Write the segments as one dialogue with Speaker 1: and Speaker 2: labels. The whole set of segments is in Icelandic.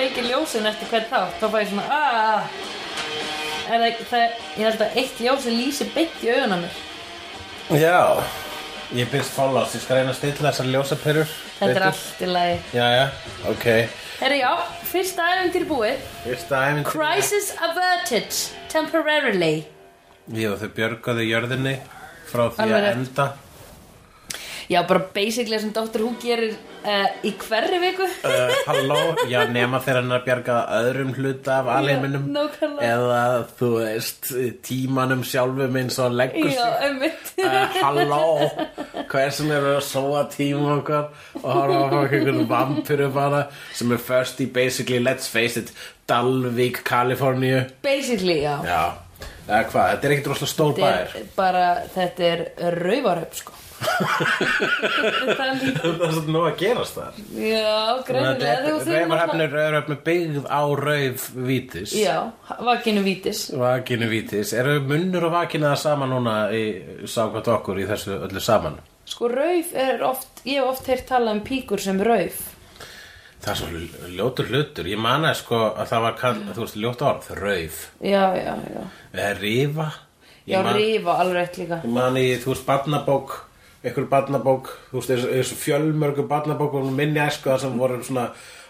Speaker 1: síðan eftir hvern þátt þá fæ ég svona aah er það, það, ég held að eitt ljósi lýsi beint í augun á mér
Speaker 2: Já Ég byrst follows, ég skal reyna að stilla þessar ljósapyrur
Speaker 1: þetta er allt í lagi
Speaker 2: Jæja, ok
Speaker 1: herri já, fyrsta æventir búið
Speaker 2: Fyrsta æfintýri
Speaker 1: crisis averted temporarily
Speaker 2: Jú, þau björguðu jörðinni frá því
Speaker 1: Alveg
Speaker 2: að
Speaker 1: rétt.
Speaker 2: enda
Speaker 1: já, bara basically sem Dr. Who gerir uh, í hverri viku
Speaker 2: Uh, Halló, já nema þegar hann er að bjarga öðrum hluta af alheiminum
Speaker 1: nákvæmlega.
Speaker 2: Eða, þú veist, tímanum sjálfum eins og hann leggur
Speaker 1: já,
Speaker 2: sig
Speaker 1: einmitt
Speaker 2: Eh, Halló, hversin er að sóa tíma okkar og horfa á okkur einhvern vampiru bara sem er first í basically, let's face it, Dalvík, Kaliforníu
Speaker 1: basically, já
Speaker 2: Já, eða hvað, þetta er ekkert rosalega stór
Speaker 1: Þetta
Speaker 2: bæðir
Speaker 1: er bara, þetta er rauvaröp sko Þetta er líka
Speaker 2: Það er svolítið nú að gerast þar
Speaker 1: Já, greinilega þú þurfum að-
Speaker 2: Rauvarhafnir Rauvarhafnir byggð á rauð vítis
Speaker 1: Já, vakinu vítis
Speaker 2: Vakinu vítis, eru munnur og vakina það saman núna í sákvæmt okkur í þessu öllu saman?
Speaker 1: Sko rauf er oft, ég hef oft heyrt talað um píkur sem rauf
Speaker 2: Það er svo ljótur hlutur, ég man að sko að það var, kann, þú veist, ljótt orð, rauð
Speaker 1: Já, já, já
Speaker 2: eða rifa Eh, Ég
Speaker 1: Já,
Speaker 2: man-
Speaker 1: rifa alveg rétt líka
Speaker 2: Ég man í, þú veist, barnabók einhver barnabók, þú veist, þessu- þessu fjölmörgu barnabók og minni æsku þar sem vorum svona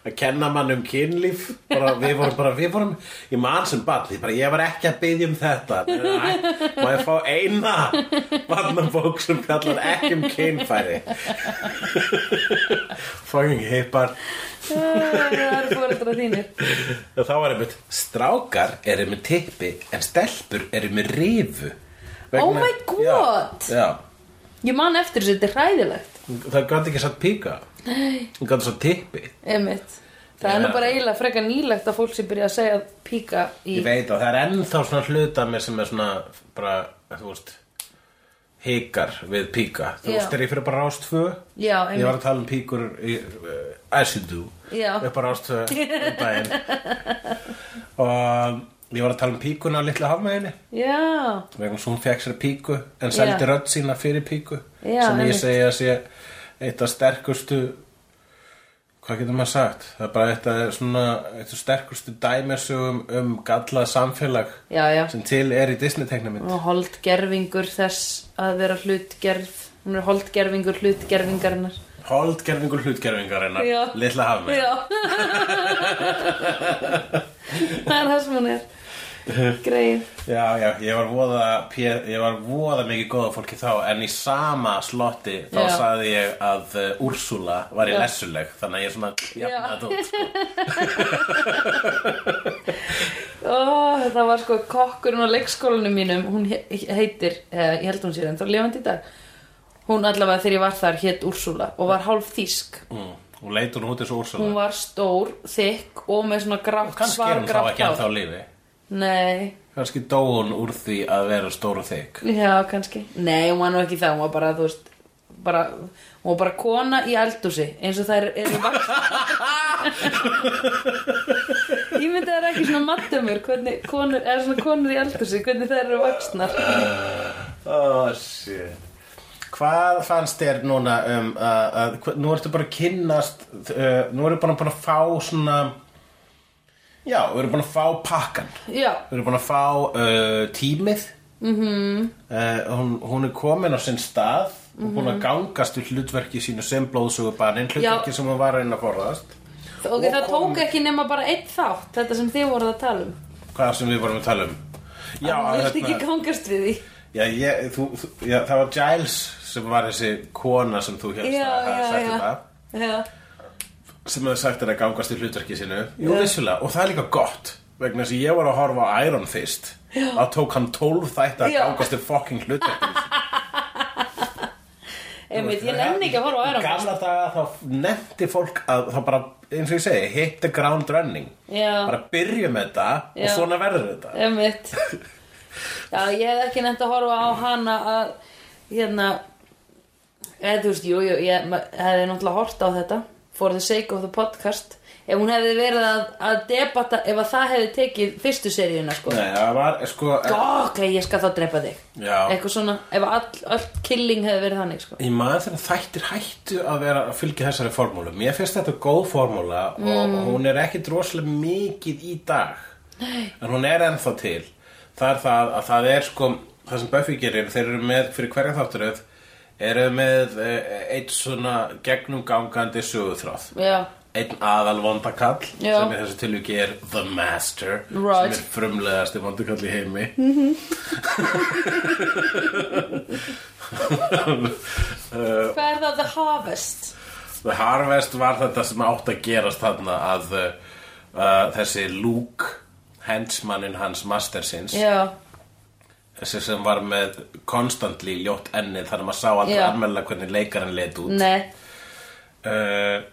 Speaker 2: að kenna mann um kynlíf bara, við vorum bara, við vorum ég man sem barn, ég, bara, ég var ekki að byggja um þetta Æ, má ég fá eina barnabók sem fjallar ekki um kynfæri fucking hippar
Speaker 1: Já, Það eru fóreldra þínir
Speaker 2: og þá var einmitt strákar eru með tippi en stelpur eru með rifu
Speaker 1: Oh my God!
Speaker 2: já, já.
Speaker 1: Ég man eftir þessu, þetta er hræðilegt
Speaker 2: það gæti ekki satt píka það gæti satt tippi
Speaker 1: Einmitt Það er nú
Speaker 2: Já.
Speaker 1: bara eiginlega frekar nýlegt að fólk sem byrja að segja píka í
Speaker 2: ég veit að það er ennþá svona hluta mér sem er svona bara, þú veist hikar við píka þú
Speaker 1: Já.
Speaker 2: veist, þegar ég fyrir bara rást tvö
Speaker 1: Já, einmitt.
Speaker 2: ég var að tala um píkur í uh, Asidu
Speaker 1: Já.
Speaker 2: upp á rást tvö um daginn og ég var að tala um píkuna á litla hafmeginni
Speaker 1: Já,
Speaker 2: vegna svo hún fekk sér píku en seldi
Speaker 1: Já.
Speaker 2: rödd sína fyrir píku
Speaker 1: Já,
Speaker 2: sem ég
Speaker 1: einmitt.
Speaker 2: segi að sé eitt af sterkustu hvað getur maður sagt það er bara eitt af svona eitt af sterkustu dæmisugum um gallað samfélag
Speaker 1: já, já
Speaker 2: sem til er í Disney-teknamind
Speaker 1: Og holdgerfingur þess að vera hlutgerð Hún er holdgerfingur hlutgerfingarinnar
Speaker 2: holdgerfingur hlutgerfingarinnar
Speaker 1: Já.
Speaker 2: litla hafmi
Speaker 1: Já Það er það sem hún er Greið
Speaker 2: Já, já, ég var voða, pé- ég var voða mikið góða fólki þá en í sama slotti þá
Speaker 1: Já.
Speaker 2: sagði ég að uh, Úrsula var í
Speaker 1: Já.
Speaker 2: lessuleg þannig að ég svona jafna
Speaker 1: Já.
Speaker 2: þetta út sko.
Speaker 1: Ó, Það var sko kokkurinn á leikskólanum mínum Hún he- heitir, eh, ég held hún sér en þá lifandi í dag Hún allavega þegar ég var þar hétt Úrsula og var hálf þýsk
Speaker 2: mm. og leit hún út eins og Úrsula
Speaker 1: Hún var stór, þykk og með svona grátt,
Speaker 2: Kannski er
Speaker 1: svar
Speaker 2: hún þá
Speaker 1: grátt
Speaker 2: ekki
Speaker 1: hár
Speaker 2: ennþá á lífi
Speaker 1: Nei,
Speaker 2: Kannski dó hún úr því að vera stór og þykk
Speaker 1: já kannski Nei, hún var nú ekki það, hún var bara, þú veist bara, hún var bara kona í eldúsi eins og þær eru vaksnar Ég myndi að það er ekki svona mattumur hvernig konur, er svona konur í eldúsi hvernig þær eru vaksnar
Speaker 2: Oh shit Hvað fannst þér núna um að, að hva- nú ertu bara að kynnast uh, nú eru bara búin að fá svona já, við erum búin að fá pakkan
Speaker 1: Já,
Speaker 2: við erum búin að fá uh, tímið mm -hmm. hún, hún er komin á sinn stað og búin að gangast við hlutverki sínu sem blóðsugubaninn hlutverki sem hún var að reyna að forðast
Speaker 1: og
Speaker 2: Og
Speaker 1: það
Speaker 2: konur.
Speaker 1: tók ekki nema bara einn þátt þetta sem þið voruð að tala um
Speaker 2: hvað sem við vorum að tala um Já,
Speaker 1: Þú vilt
Speaker 2: hérna-
Speaker 1: ekki gangast við því
Speaker 2: Já, ég, þú, þú, já, það var Giles sem var þessi kona sem þú hérst
Speaker 1: Já,
Speaker 2: að hafa
Speaker 1: já,
Speaker 2: sagt
Speaker 1: já.
Speaker 2: þetta
Speaker 1: Já,
Speaker 2: sem hefði sagt þér að gangast í hlutverki sinu Jú, vissulega, og það er líka gott vegna þess að ég var að horfa á Iron Fist þá tók hann 12 þætti að
Speaker 1: Já.
Speaker 2: gangast í fucking hlutverki
Speaker 1: einmitt, ég nenni ekki að horfa á
Speaker 2: Í
Speaker 1: æra
Speaker 2: gamla daga þá nefndi fólk að þá bara, eins og ég segi, hit the ground running
Speaker 1: Já.
Speaker 2: bara byrjum þetta
Speaker 1: Já.
Speaker 2: og svona verður þetta
Speaker 1: Einmitt. Já, ég hef ekki nefnt að horfa á hana að, hérna, eða þú veist, jú, jú, ég ma- hefði náttúrulega hort á þetta, for the sake of the podcast, ef hún hefði verið að, að debata ef að það hefði tekið fyrstu seríuna sko.
Speaker 2: Nei, það var, eh, sko eh,
Speaker 1: ok, ég skal þá drepa þig
Speaker 2: Já.
Speaker 1: eitthvað svona, ef all, allt killing hefði verið þannig sko.
Speaker 2: Ég maður þegar þættir hættu að vera að fylgja þessari formúlu. Mér finnst þetta góð formúla
Speaker 1: Mm.
Speaker 2: og hún er ekkit rosalega mikið í dag. Nei. En hún er ennþá til. Það er það að það er sko, það sem Buffy gerir, þeir eru með fyrir hverja þátturöð, eru með eh, eitt svona gegnumgangandi söguþráð.
Speaker 1: já,
Speaker 2: Einn aðal vondakall
Speaker 1: Já.
Speaker 2: sem í þessu tilviki er The Master
Speaker 1: Right.
Speaker 2: sem er frumlegasti vondakall í heimi
Speaker 1: hvað er það The Harvest?
Speaker 2: The Harvest var þetta sem átt að gerast þarna að uh, uh, þessi Luke hensmannin hans mastersins
Speaker 1: já,
Speaker 2: þessi sem var með konstantli ljótt ennið þar að maður sá aldrei
Speaker 1: Já.
Speaker 2: almennilega hvernig leikarinn leit út
Speaker 1: nei
Speaker 2: uh,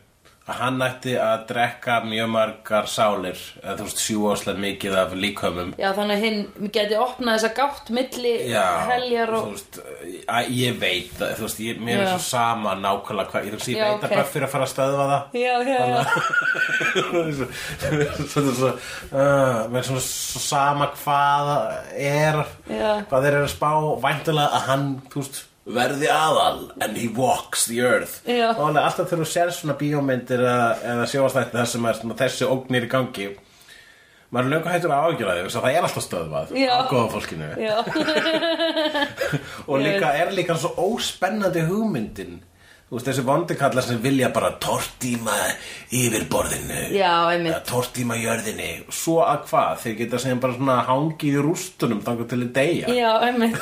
Speaker 2: hann ætti að drekka mjög margar sálir eða þú veist sjúoslega mikið af líkömum
Speaker 1: já, þannig að hinn geti opnað þessa gátt milli
Speaker 2: Já,
Speaker 1: heljar og
Speaker 2: þú veist, að, ég veit það, þú veist, ég, mér er
Speaker 1: Já.
Speaker 2: svo sama nákvæmlega hvað, ég, þú veist, ég
Speaker 1: Já,
Speaker 2: veit það
Speaker 1: ok.
Speaker 2: bara fyrir að fara að stöðva það
Speaker 1: já, já, já,
Speaker 2: svona svo, uh, með svona svo sama hvað er
Speaker 1: Já.
Speaker 2: hvað þeir eru að spá væntulega að hann túst, verði aðal and he walks the earth
Speaker 1: Já.
Speaker 2: og alveg alltaf þegar þú sér svona bíómyndir eða, eða sjóastætti þar sem er svona, þessi ógnir í gangi maður er löngu hættur að ágjöra því það er alltaf stöðvað
Speaker 1: Já.
Speaker 2: af góða fólkinu
Speaker 1: já.
Speaker 2: og líka er líka svo óspennandi hugmyndin Þú veist, þessi vondikallar sem vilja bara tortíma yfirborðinu
Speaker 1: Já, einmitt.
Speaker 2: Eða tortíma jörðinni Svo að hvað, þeir geta sem bara svona hangið í rústunum þangar til að deyja
Speaker 1: já einmitt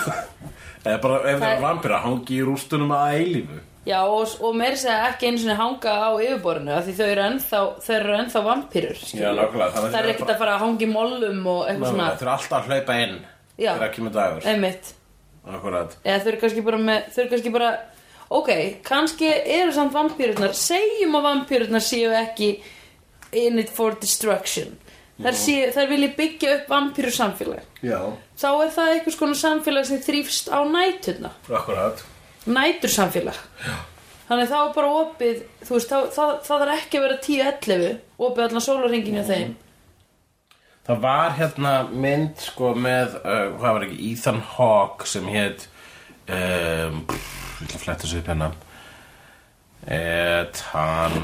Speaker 2: Eða bara ef þeir
Speaker 1: Það-
Speaker 2: eru vampira, hangið í rústunum að eilífu
Speaker 1: Já, og, og meir segja ekki einu sinni hanga á yfirborðinu af því þau eru ennþá, þau eru ennþá vampýrur
Speaker 2: nákvæmlega
Speaker 1: Það er ekkert að fara að hanga í mollum og eitthvað svona
Speaker 2: Þeir eru alltaf að hlaupa inn
Speaker 1: Já.
Speaker 2: Þegar kemur dagur
Speaker 1: Einmitt
Speaker 2: Akkurat
Speaker 1: Eða þau eru kannski bara með, þau eru kannski bara Ok, kannski eru samt vampýrurnar Segjum að vampýrurnar séu ekki in it for destruction Þær, séu, þær vilji byggja upp vampýrur samfélag
Speaker 2: Já,
Speaker 1: Þá er það einhvers konar samfélag sem þrýfst á næturna
Speaker 2: akkurat
Speaker 1: nætur samfélag þannig þá er bara opið þú veist, þá, það, það er ekki að vera 10-11 opið allan sólarringinu mm. þeim
Speaker 2: Það var hérna mynd sko með, uh, hvað var ekki, Ethan Hawke sem hétt, um, pff, ég ætla að fletta þessu upp hérna, Ethan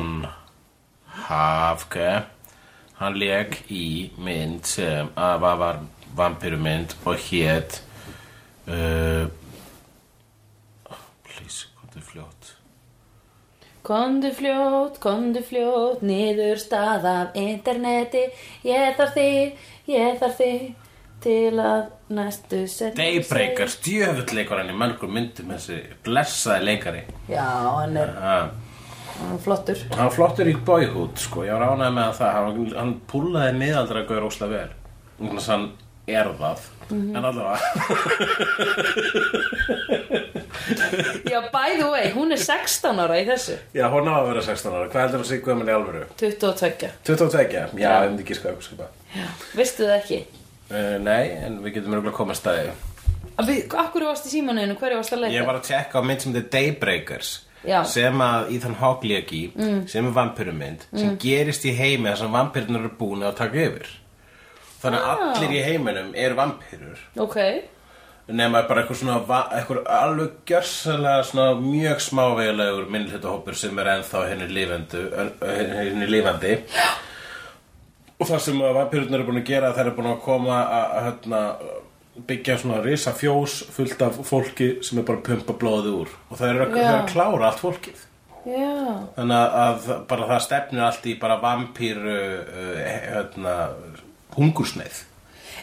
Speaker 2: Hawke, hann leik í mynd sem að var, var vampirumynd og hétt, uh, please, hvað er fljótt?
Speaker 1: Kondu fljót, kondu fljót, niður stað af interneti, ég þarf þig, ég þarf þig, til að næstu sem
Speaker 2: Daybreaker, stjöfull hann í mörgum myndum þessi blessaði leikari.
Speaker 1: Já, hann er
Speaker 2: Uh,
Speaker 1: hann er flottur.
Speaker 2: Hann var flottur í boyhood, sko, ég var ánægð með það, hann, hann púlaði miðaldra að gauður óslega vel. Þannig að hann er það,
Speaker 1: Mhm.
Speaker 2: en allavega,
Speaker 1: Já, by the way, hún er 16 ára í þessu,
Speaker 2: já, hún á að vera 16 ára, hvað heldur þú að sé gömul í alvöru?
Speaker 1: 22.
Speaker 2: 22, já, já. ég myndi ekki sko eitthvað skipa.
Speaker 1: Já. Vistu það ekki?
Speaker 2: Uh, nei, en við getum mjög komið stæði.
Speaker 1: Akkur varst í símaninu, hverju varst að leika?
Speaker 2: Ég var að tjekka á mynd sem þetta er Daybreakers,
Speaker 1: Já. Mm.
Speaker 2: sem að Ethan Hawke lék í, sem er vampirumynd, sem gerist í heimi þar sem vampirnur eru búin að taka yfir. Þannig að
Speaker 1: Ah.
Speaker 2: allir í heiminum eru vampirur.
Speaker 1: Ok,
Speaker 2: nema bara eitthvað svona va- eitthvað alveg gjörsalega svona mjög smávegilegur minnlítahópur sem er ennþá henni lífendu henni lífandi og það sem að vampirurnar eru búin að gera þær eru búin að koma að, að hérna, byggja svona risa fjós fullt af fólki sem er bara að pumpa blóðið úr og það eru að,
Speaker 1: Já.
Speaker 2: þær eru að klára allt fólkið
Speaker 1: já.
Speaker 2: þannig að- að bara það stefnir allt í bara vampíru uh, hérna, hungursneið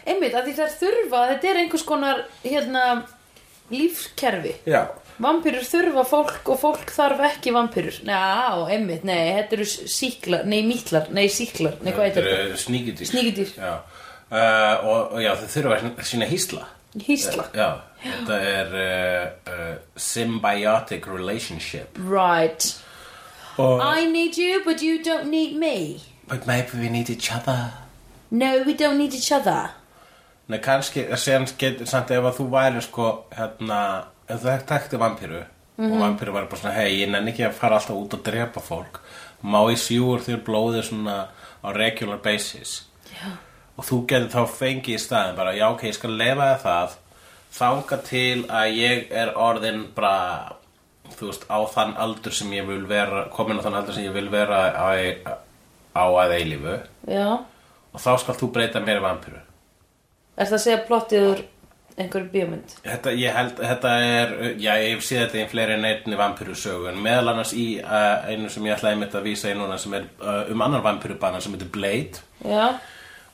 Speaker 1: Einmitt, að því þær þurfa, þetta er einhvers konar hérna, lífskerfi.
Speaker 2: Já,
Speaker 1: Vampýrur þurfa fólk og fólk þarf ekki vampýrur. Já, einmitt, nei, þetta eru síklar, nei, mítlar, nei, síklar, nei, hvað heitir þetta?
Speaker 2: eru eh, sníkjudýr
Speaker 1: Sníkjudýr.
Speaker 2: já. Uh, og, og já, þau þurfa að sína hýsla
Speaker 1: Hýsla.
Speaker 2: já, þetta er uh, uh, symbiotic relationship
Speaker 1: Right.
Speaker 2: og,
Speaker 1: I need you, but you don't need me.
Speaker 2: but maybe we need each other
Speaker 1: No, we don't need each other.
Speaker 2: Nei, kannski, sen getur samt ef að þú væri sko, hérna ef þú þekkti vampíru og vampíru var bara svona, hei, ég nenni ekki að fara alltaf út og drepa fólk má í sjúur þér blóðið svona á regular basis
Speaker 1: Já.
Speaker 2: og þú getur þá fengið í staðin bara já ok, ég skal lefa þér það þanga til að ég er orðin bara þú veist, á þann aldur sem ég vil vera komin á þann aldur sem ég vil vera á, á að eilífu
Speaker 1: Já.
Speaker 2: og þá skal þú breyta mér í vampíru
Speaker 1: Er það að segja plottið úr einhverju bíómynd?
Speaker 2: Þetta, ég held, þetta er, já, ég hef séð þetta í fleiri en einni vampirusögu en meðal annars í uh, einu sem ég ætlaði mitt að vísa í núna sem er uh, um annar vampirubana sem heitir Blade
Speaker 1: Já,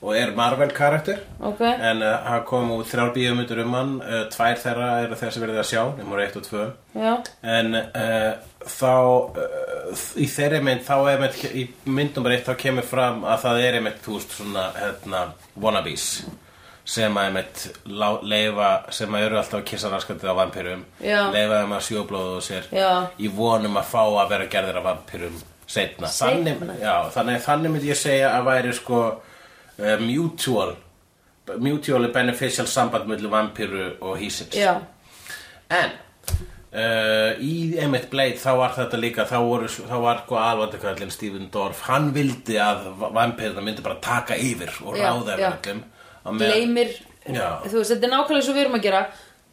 Speaker 2: og er Marvel karakter
Speaker 1: ok.
Speaker 2: en uh, það kom út þrjár bíómyndur um hann, uh, tvær þeirra eru þeir sem verið að sjá, nemur 1 og 2
Speaker 1: Já,
Speaker 2: en uh, þá uh, í þeirri mynd, þá er mynd í myndum bara eitt, þá kemur fram að það er einmitt, þú veist, svona, hérna, wannabes sem að einmitt lá- leifa, sem að eru alltaf að kissa raskandi á vampirum
Speaker 1: Já.
Speaker 2: leifa þeim að sjóblóðu og sér
Speaker 1: Já.
Speaker 2: í vonum að fá að vera gerðir af vampirum setna,
Speaker 1: Seinna.
Speaker 2: Þannig, já, þannig, þannig myndi ég segja að væri sko uh, mutual mutually beneficial samband milli vampiru og hísins
Speaker 1: já,
Speaker 2: En uh, í Emmett Blade þá var þetta líka, þá, voru, þá var alvandakallin Stephen Dorff, hann vildi að vampirna myndi bara taka yfir og
Speaker 1: Já,
Speaker 2: ráða
Speaker 1: já.
Speaker 2: yfir öllum. Á meðan-
Speaker 1: gleymir,
Speaker 2: Já.
Speaker 1: þú veist, þetta er nákvæmlega svo við erum að gera.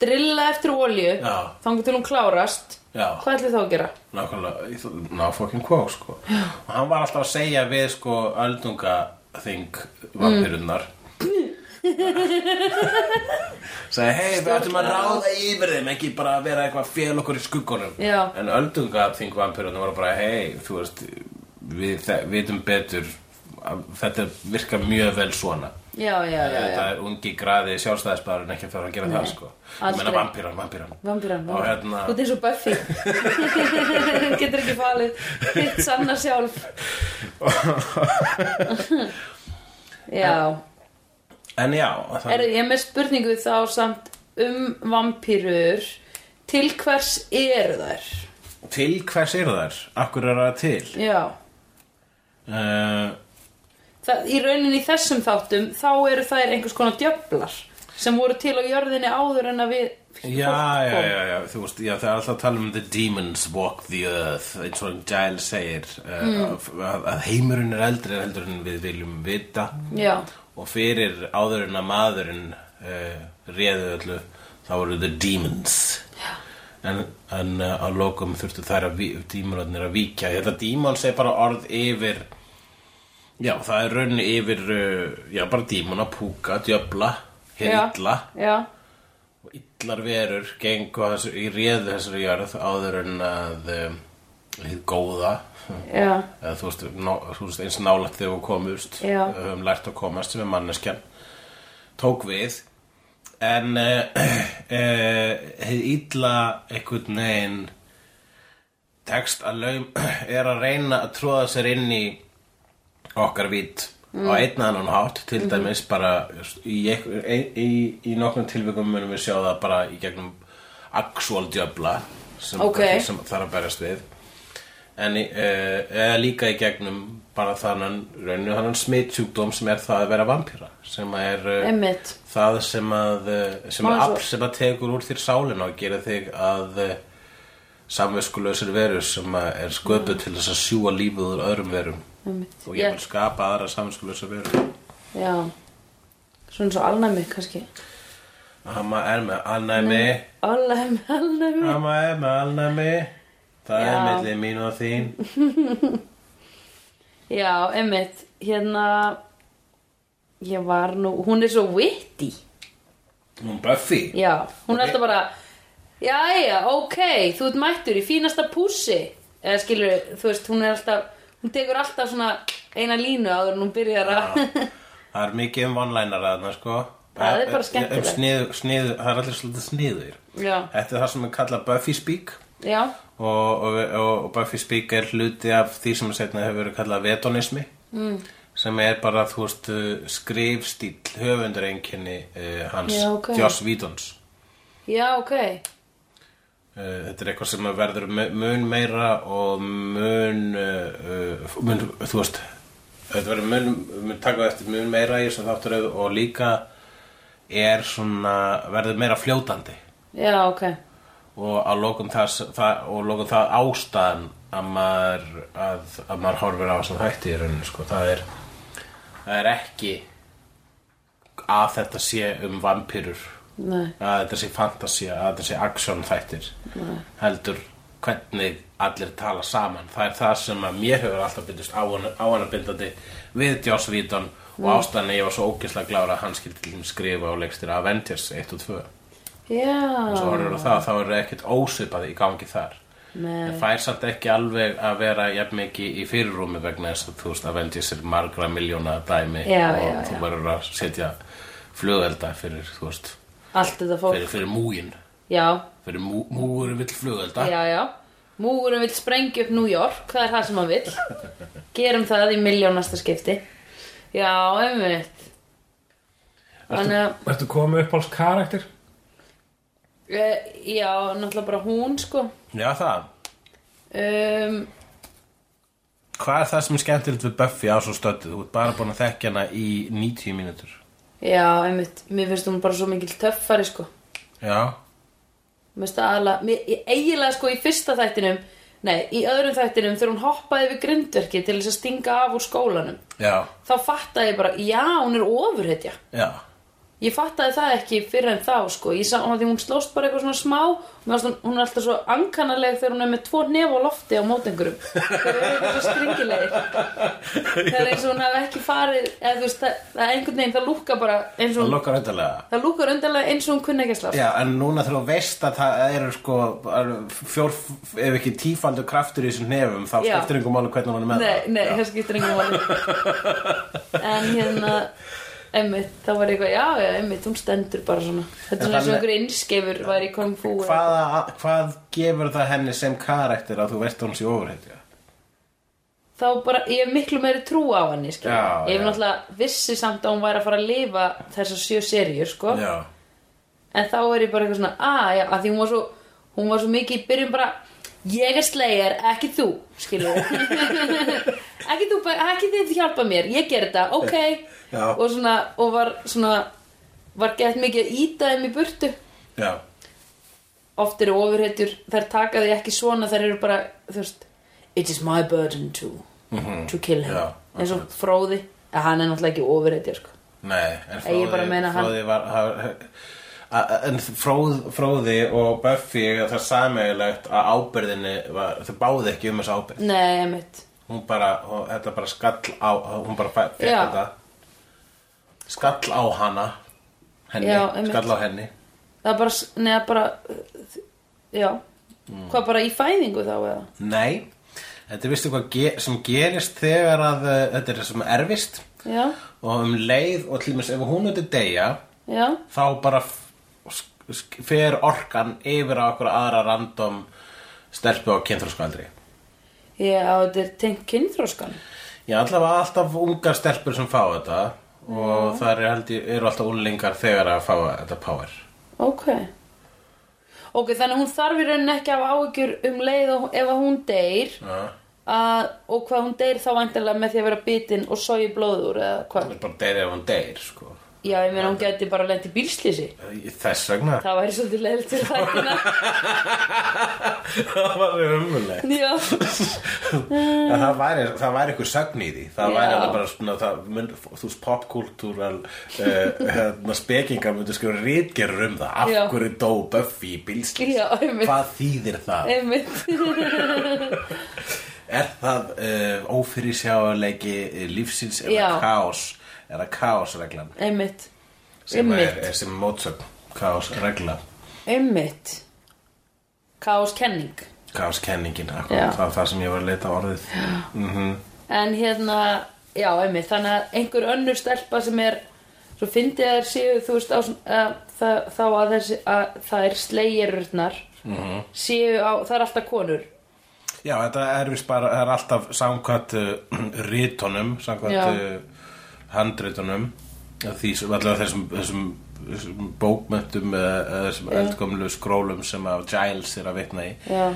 Speaker 1: Drilla eftir olju,
Speaker 2: Já.
Speaker 1: þangu til hún klárast.
Speaker 2: Já.
Speaker 1: Hvað ætlið þá að gera?
Speaker 2: Nákvæmlega, í þó- ná fokkin kvók sko Og hann var alltaf að segja við sko öldunga þing vampirunnar
Speaker 1: Mm.
Speaker 2: Segði, hei, við ættum að ráða yfir þeim Ekki bara að vera eitthvað fél okkur í skuggunum
Speaker 1: Já.
Speaker 2: En öldunga þing vampirunnar voru bara Hei, þú veist, við þe- vitum betur að Þetta virkar mjög vel svona
Speaker 1: Já, já, já, já.
Speaker 2: Þetta er ungi graði sjálfstæðisbæðurinn ekki að fara að gera það sko Ég meina
Speaker 1: aldrei.
Speaker 2: vampíran, vampíran
Speaker 1: Vampirann,
Speaker 2: Og hérna
Speaker 1: Þú ert eins og Buffy. Getur ekki falið þitt sanna sjálf. já.
Speaker 2: En já, það
Speaker 1: Er, ég er með spurningu þá samt um vampýrur til hvers eru þær?
Speaker 2: Til hvers eru þær? Akkur er það til?
Speaker 1: Já
Speaker 2: Uh,
Speaker 1: það, Í rauninni í þessum þáttum þá eru þær einhvers konar djöflar sem voru til á jörðinni áður en að við fólk
Speaker 2: já, já,
Speaker 1: kom.
Speaker 2: já, já, þú veist, já, það er alltaf að tala um the demons walk the earth, eins og Giles segir, uh, að, að heimurinn er eldri heldur en við viljum vita
Speaker 1: já
Speaker 2: og fyrir áður en að maðurinn uh, réðu öllu, þá voru the demons. En, en uh, að lokum þurftu þær að ví- dímonarnir að víkja. Þetta dímons er bara orð yfir, já, það er raun yfir, uh, já, bara dímona, púka, djöfla, hindla.
Speaker 1: Já,
Speaker 2: og illar verur gengu að þessu, í réðu þessari jörð áður en að um, hið góða
Speaker 1: já,
Speaker 2: eða þú veist, ná, þú veist eins nálægt þegar við komumst
Speaker 1: Já.
Speaker 2: við höfum lært að komast sem er manneskjan tók við en uh, uh, hið illa einhvern veginn tekst að laum er að reyna að tróða sér inn í okkar vít
Speaker 1: Mm.
Speaker 2: á einn annan hátt til
Speaker 1: Mhm.
Speaker 2: dæmis bara í, einhver- ein- í, í nokkrum tilvikum munum við sjá það bara í gegnum actual djöfla sem,
Speaker 1: Ok.
Speaker 2: sem þarf að berjast við en í- eh, eða líka í gegnum bara þannan rauninu þannan smitsjúkdóm sem er það að vera vampíra sem að er eh,
Speaker 1: emmitt
Speaker 2: það sem að eh, sem
Speaker 1: Má
Speaker 2: að
Speaker 1: ég svo-
Speaker 2: afl sem að tekur úr þér sálina og gera þig að samveskuleysir veru sem að er sköpuð til þess að sjúa lífið úr öðrum verum
Speaker 1: Einmitt.
Speaker 2: og ég
Speaker 1: Mm. Ég-
Speaker 2: vil skapa aðra samveskuleysir veru
Speaker 1: Já Svona svo alnæmi kannski
Speaker 2: Amma er með alnæmi
Speaker 1: Alnæmi, alnæmi
Speaker 2: Amma er með alnæmi Það
Speaker 1: Já.
Speaker 2: er milli mín og þín
Speaker 1: Já, emmitt Hérna Ég var nú, hún er svo witty
Speaker 2: Hún Buffy
Speaker 1: Já, hún er
Speaker 2: Ok.
Speaker 1: alltaf bara Jæja, ok, þú ert mættur í fínasta pússi Eða skilur, þú veist, hún er alltaf Hún tekur alltaf svona eina línu áður en hún byrjar að
Speaker 2: Það er mikið um one-liner að þarna sko
Speaker 1: Það er bara
Speaker 2: Um
Speaker 1: skemmtilegt.
Speaker 2: sniðu, sniðu, það er allir svolítið sniður
Speaker 1: Já,
Speaker 2: Þetta er það sem er kallað Buffy speak
Speaker 1: já,
Speaker 2: og, og, og, og Buffy speak er hluti af því sem setna hefur verið kallað vetonismi mm. sem er bara þú veist uh, skrifstíll höfundur einkenni uh, hans
Speaker 1: Já, ok.
Speaker 2: Joss Whedons
Speaker 1: já, ok
Speaker 2: Uh, Þetta er eitthvað sem verður mu- mun meira og mun, uh, uh, mun þú veist, þetta verður mun, mun taka eftir mun meira í þessum þátturöðu og líka er svona, verður meira fljótandi
Speaker 1: Já, ok,
Speaker 2: og að lokum það, það, og lokum það ástæðan að maður, að, að maður horfir á þessum hætti í rauninu sko. það, er, það er ekki að þetta sé um vampýrur
Speaker 1: Nei.
Speaker 2: að þetta sé fantasía, að þetta sé action þættir heldur hvernig allir tala saman það er það sem að mér hefur alltaf byndist áanabindandi við Joss Whedon og
Speaker 1: Mm.
Speaker 2: ástæðan að ég var svo ógislega glára að hann skildi til þeim skrifa og leikstir Avengers 1 og 2
Speaker 1: Já.
Speaker 2: svo horfður á það, þá er ekkert ósipað í gangi þar
Speaker 1: Nei.
Speaker 2: Það fær samt ekki alveg að vera jafn mikið í fyrirrúmi vegna þess að þú veist Avengers er margra miljóna dæmi
Speaker 1: Já,
Speaker 2: og
Speaker 1: já,
Speaker 2: þú
Speaker 1: já.
Speaker 2: verður að setja flugelda fyrir, þú veist,
Speaker 1: Allt þetta fólk.
Speaker 2: fyrir, fyrir múgin
Speaker 1: Já,
Speaker 2: fyrir mú, múgurum vill flugelda
Speaker 1: já, já. Múgurum vill sprengja upp New York, það er það sem hann vill. Gerum það í miljónasta skipti. Já, einmitt. Þannig að,
Speaker 3: Ertu komið upp alls karakter?
Speaker 1: e, já, náttúrulega bara hún, sko.
Speaker 2: Já, það
Speaker 1: Um,
Speaker 2: Hvað er það sem er skemmtilegt við Buffy á svo stöttið? Þú ert bara búin að þekkja hana í 90 mínútur
Speaker 1: já, einmitt. Mér finnst hún bara svo mikil töffari, sko.
Speaker 2: Já,
Speaker 1: Mér finnst það aðla, mér, ég- eiginlega, sko, í fyrsta þættinum, nei, í öðrum þættinum, þegar hún hoppaði við grindverki til þess að stinga af úr skólanum,
Speaker 2: já,
Speaker 1: þá fattaði ég bara, já, hún er ofurhetja.
Speaker 2: já
Speaker 1: Ég fattaði það ekki fyrir en þá sko Ég sá að því hún slóst bara eitthvað svona smá Mér varst hún, hún er alltaf svo ankanaleg þegar hún er með tvo nef á lofti á mótengurum Þeir eru eitthvað svo skringilegir Það er eins og hún hef ekki farið eða þú veist, það, það er einhvern veginn, það lúka bara eins og
Speaker 2: Það
Speaker 1: hún,
Speaker 2: lukkar reyndalega
Speaker 1: það lúkar undarlega eins og hún kunni ekki að slást
Speaker 2: Já, en núna þegar þú veist að það eru sko alveg fjór, ef ekki tífaldur kraftur í þessum nefum þá
Speaker 1: Já.
Speaker 2: skiptir einhver máli hvernig hann er með
Speaker 1: Nei,
Speaker 2: það
Speaker 1: nei,
Speaker 2: Já.
Speaker 1: það skiptir engum máli En hérna Einmitt, þá var ég eitthvað, já, já, einmitt, hún stendur bara svona Þetta er
Speaker 2: En
Speaker 1: svona eins og
Speaker 2: þannig-
Speaker 1: einhver innskefur væri í kung fu eða eitthvað.
Speaker 2: Hvaða, Hvað gefur það henni sem karakter að þú veist að hún sé ofurheitja?
Speaker 1: þá bara, ég hef miklu meiri trú á henni skilur.
Speaker 2: Já,
Speaker 1: ég hef
Speaker 2: já.
Speaker 1: náttúrulega vissi samt að hún væri að fara að lifa þessar sjö seríur sko.
Speaker 2: Já,
Speaker 1: en þá er ég bara eitthvað svona að, já, að því hún var svo hún var svo mikið í byrjun bara ég er slegjar, ekki þú skilur ekki þú, bara- ekki þið hjálpa mér ég ger þetta, ok
Speaker 2: Já.
Speaker 1: og, svona, og var svona var gett mikið að íta þeim í burtu
Speaker 2: já,
Speaker 1: oft eru ofurhetjur, þær taka því ekki svona þær eru bara, þú veist it is my burden to to kill him,
Speaker 2: Já,
Speaker 1: eins og fróði að hann er náttúrulega ekki ofurhetja sko.
Speaker 2: nei En
Speaker 1: Ég bara meina hann-
Speaker 2: fróði var, hann En fróð, fróði og Buffy eiga það sameiglegt að ábyrðinni var, þau báði ekki um þessu ábyrð
Speaker 1: nei, emitt
Speaker 2: Hún bara, hún, þetta bara skall á hún bara fæ- fékk
Speaker 1: Já.
Speaker 2: þetta skall á hana henni,
Speaker 1: Já, einmitt.
Speaker 2: skall á henni
Speaker 1: það er bara, neða bara uh, já, hvað bara í fæðingu þá eða
Speaker 2: Nei, þetta er vistu hvað ge sem gerist þegar að uh, þetta er sem erfist
Speaker 1: já,
Speaker 2: og um leið og til mér ef hún myndi deyja
Speaker 1: já,
Speaker 2: þá bara f- sk- sk- fer orkan yfir á okkur aðra random stelpu á kynþróskaldri
Speaker 1: já, þetta er tengt kynþróskan
Speaker 2: Já, allavega alltaf ungar stelpur sem fá þetta og það eru, held ég, eru alltaf unlingar þegar að fá þetta power
Speaker 1: ok ok, þannig að hún þarf í rauninni ekki að hafa áhyggjur um leið og ef að hún deyr
Speaker 2: Já,
Speaker 1: að, og hvað hún deyr þá vantarlega með því að vera bitin og sogi blóður eða
Speaker 2: það
Speaker 1: hvað
Speaker 2: er bara deyr ef hún deyr, sko
Speaker 1: Já, ég meina hún gæti bara lent í bílslýsi
Speaker 2: Þess vegna
Speaker 1: Það væri svolítið leiðilegt til þættina
Speaker 2: Það var umvöldlega
Speaker 1: Já,
Speaker 2: Já, það væri, það væri ykkur sögn í því það
Speaker 1: Mm. Já.
Speaker 2: væri alveg bara svona það, mynd, þú veist popkultúral uh, hérna, spekingar myndu skrifa rítgerur um það af
Speaker 1: Já.
Speaker 2: hverju dó Buffy í bílslis
Speaker 1: Já, einmitt. Eh.
Speaker 2: hvað þýðir það
Speaker 1: einmitt
Speaker 2: er það uh, ófyrirsjáleiki lífsins er
Speaker 1: Já.
Speaker 2: það kaos er það kaosreglan
Speaker 1: Einmitt
Speaker 2: sem er,
Speaker 1: Einmitt.
Speaker 2: er sem mótsögn kaosregla
Speaker 1: Einmitt Kaoskenning
Speaker 2: kaoskenningin
Speaker 1: Já.
Speaker 2: akkurat, það var það sem ég var að leita að orðið mm
Speaker 1: En hérna, já, einmitt Þannig að einhver önnur stelpa sem er Svo fyndi þær séu, þú veist, á, að, það, þá að, þessi, að það er slegirurnar
Speaker 2: Mhm.
Speaker 1: séu á, það er alltaf konur.
Speaker 2: Já, þetta er vist bara, það er alltaf samkvæmt uh, rítunum,
Speaker 1: Já.
Speaker 2: samkvæmt uh, handrítunum, því sem allavega þessum, þessum, þessum bókmöntum eða eða þessum eldgömlu skrólum sem að Giles er að vitna í,
Speaker 1: Já,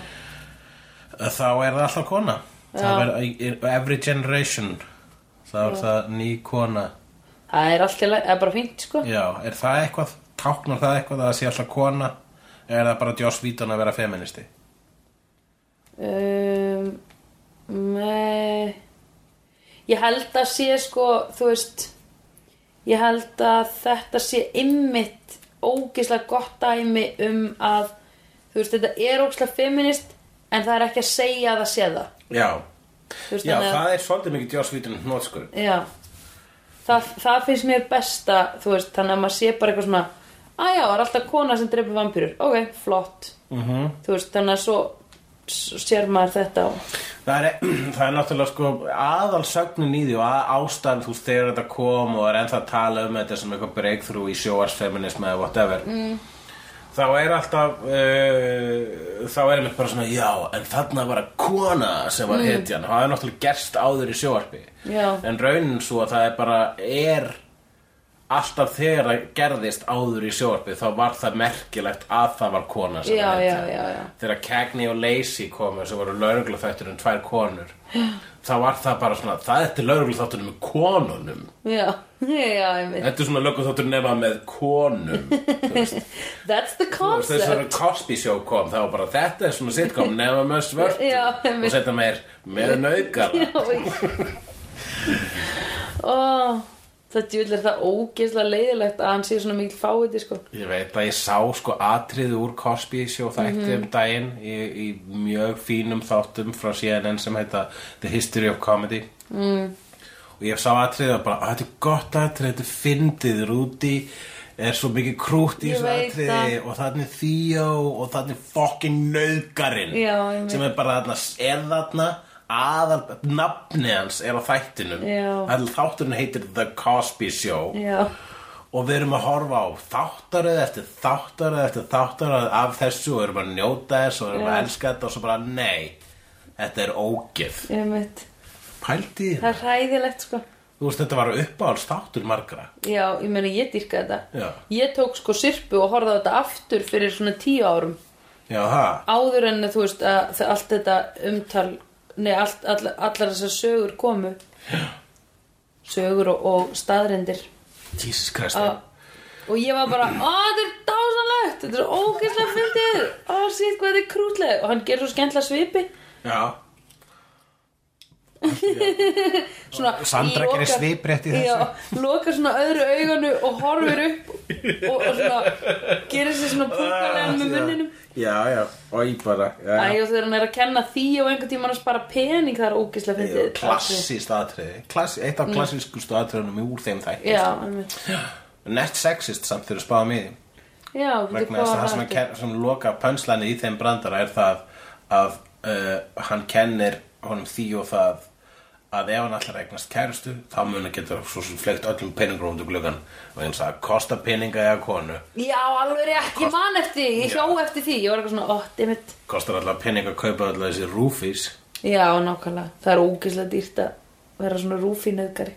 Speaker 2: að þá er það alltaf kona. Það
Speaker 1: Já.
Speaker 2: er, er, every generation, þá er það ný kona.
Speaker 1: það er alltaf, það er bara fínt, sko.
Speaker 2: Já, er það eitthvað, táknar það eitthvað að það sé alltaf kona? eða er það bara Joss Whedon að vera feministi
Speaker 1: um, með, ég held að sé sko þú veist ég held að þetta sé ymmit ógislega gott dæmi um að þú veist þetta er ógislega feminist en það er ekki að segja að það sé það
Speaker 2: já,
Speaker 1: Þú veist,
Speaker 2: já
Speaker 1: þannig að-
Speaker 2: það er svolítið mikið Joss Whedon hnótskur
Speaker 1: Já það, það finnst mér besta þú veist, þannig að maður sé bara eitthvað svona að já, er alltaf kona sem dreipur vampýrur ok, flott
Speaker 2: mm -hmm.
Speaker 1: þú veist, þannig að svo s- sér maður þetta og...
Speaker 2: það, er, það er náttúrulega sko aðalsögnin í því og að ástæðan þú veist þegar þetta kom og er ennþá að tala um þetta sem eitthvað breakthrough í sjóarsfeminism eða whatever mm. þá er alltaf uh, þá er einmitt bara svona já, en þarna var að kona sem var hetjan, það er náttúrulega gerst áður í sjóarpi
Speaker 1: Já.
Speaker 2: en raunin svo að það er bara er alltaf þegar það gerðist áður í sjóarpi þá var það merkilegt að það var kona sem
Speaker 1: Já,
Speaker 2: var
Speaker 1: já,
Speaker 2: hetjan
Speaker 1: já, já.
Speaker 2: þegar Cagney og Lacey komu sem voru lauruglufættur um tvær konur þá var það bara svona það er lauruglufættur með konunum
Speaker 1: já, já, ég veit
Speaker 2: þetta er svona lauruglufættur nema með konum Þú veist,
Speaker 1: that's the
Speaker 2: og þessar
Speaker 1: concept
Speaker 2: Cosby show kom þá var bara þetta er svona sitcom nema með svört
Speaker 1: Já,
Speaker 2: og
Speaker 1: einmitt.
Speaker 2: setja meir með naukara
Speaker 1: ó Það djúll er það ógeðslega leiðilegt að hann sé svona mikil fáiði sko.
Speaker 2: Ég veit að ég sá sko atriði úr Cosby sjó þætti
Speaker 1: Mhm.
Speaker 2: um daginn í, í mjög fínum þáttum frá CNN sem heita The History of Comedy mm. og ég sá atriði og bara, að þetta er gott atriði, þetta er fyndið rúti er svo mikið krútt í
Speaker 1: Ég
Speaker 2: þessu
Speaker 1: veit
Speaker 2: atriði og þannig Theo og þannig fucking nauðgarinn
Speaker 1: Já, ég veit.
Speaker 2: sem er bara þarna, er þarna aðal, nafni hans er á þættinum
Speaker 1: Já.
Speaker 2: All- þátturinn heitir The Cosby Show
Speaker 1: Já,
Speaker 2: og við erum að horfa á þáttaröð eftir þáttaröð eftir þáttaröð af þessu og erum að njóta þess og erum að
Speaker 1: Já.
Speaker 2: elska þetta og svo bara nei, þetta er ógif
Speaker 1: ég veit.
Speaker 2: pældi í
Speaker 1: Það
Speaker 2: það,
Speaker 1: er hræðilegt sko.
Speaker 2: þú veist þetta var uppáhalds þáttur margra
Speaker 1: Já, ég meina ég dýrka þetta
Speaker 2: Já.
Speaker 1: Ég tók sko sirpu og horfði á þetta aftur fyrir svona tíu árum
Speaker 2: já það,
Speaker 1: Áður en þú veist að það- allt þetta umtal Nei, allt, all, allar þessar sögur komu Sögur og, og staðrendir
Speaker 2: Jesus Christ eh?
Speaker 1: A, Og ég var bara, á þetta er dásanlegt Þetta er svo ógeðslega fyndið Á sítt hvað þetta er krútlega Og hann gerir svo skemmtla svipi
Speaker 2: já,
Speaker 1: svona,
Speaker 2: Sandra gerir
Speaker 1: lokar-
Speaker 2: sviprétt í þessu.
Speaker 1: já, lokar svona öðru auganu og horfir upp og, og svona gerir sér svona
Speaker 2: Ah,
Speaker 1: púkalega með munninum
Speaker 2: já, já, og ég bara já,
Speaker 1: Æ, og þegar hann er að kenna því og einhvern tímann að spara pening það er ógislega
Speaker 2: já.
Speaker 1: fyndið
Speaker 2: klassist atriði Klass, eitt af klassískustu atriðunum úr þeim þætti
Speaker 1: Já, einmitt.
Speaker 2: net sexist samt þegar spáðum í því
Speaker 1: já, veitu
Speaker 2: vegna
Speaker 1: hvað
Speaker 2: þess að
Speaker 1: var
Speaker 2: það sem,
Speaker 1: aftur?
Speaker 2: ken, sem loka pönslæni í þeim brandara er það að uh, hann kennir honum því og það að ef hann allar eignast kærustu þá muni getur svo sem flegt öllum peningur út úr gluggan og eins að kosta peninga eða konu
Speaker 1: Já, alveg rétt, ég man eftir því, ég
Speaker 2: Já.
Speaker 1: hjó eftir því, ég var eitthvað svona, ó, dimmit
Speaker 2: kostar allar peninga að kaupa allar þessi rúfís
Speaker 1: Já, nákvæmlega, það er ógislega dýrt að vera svona rúfinöðgari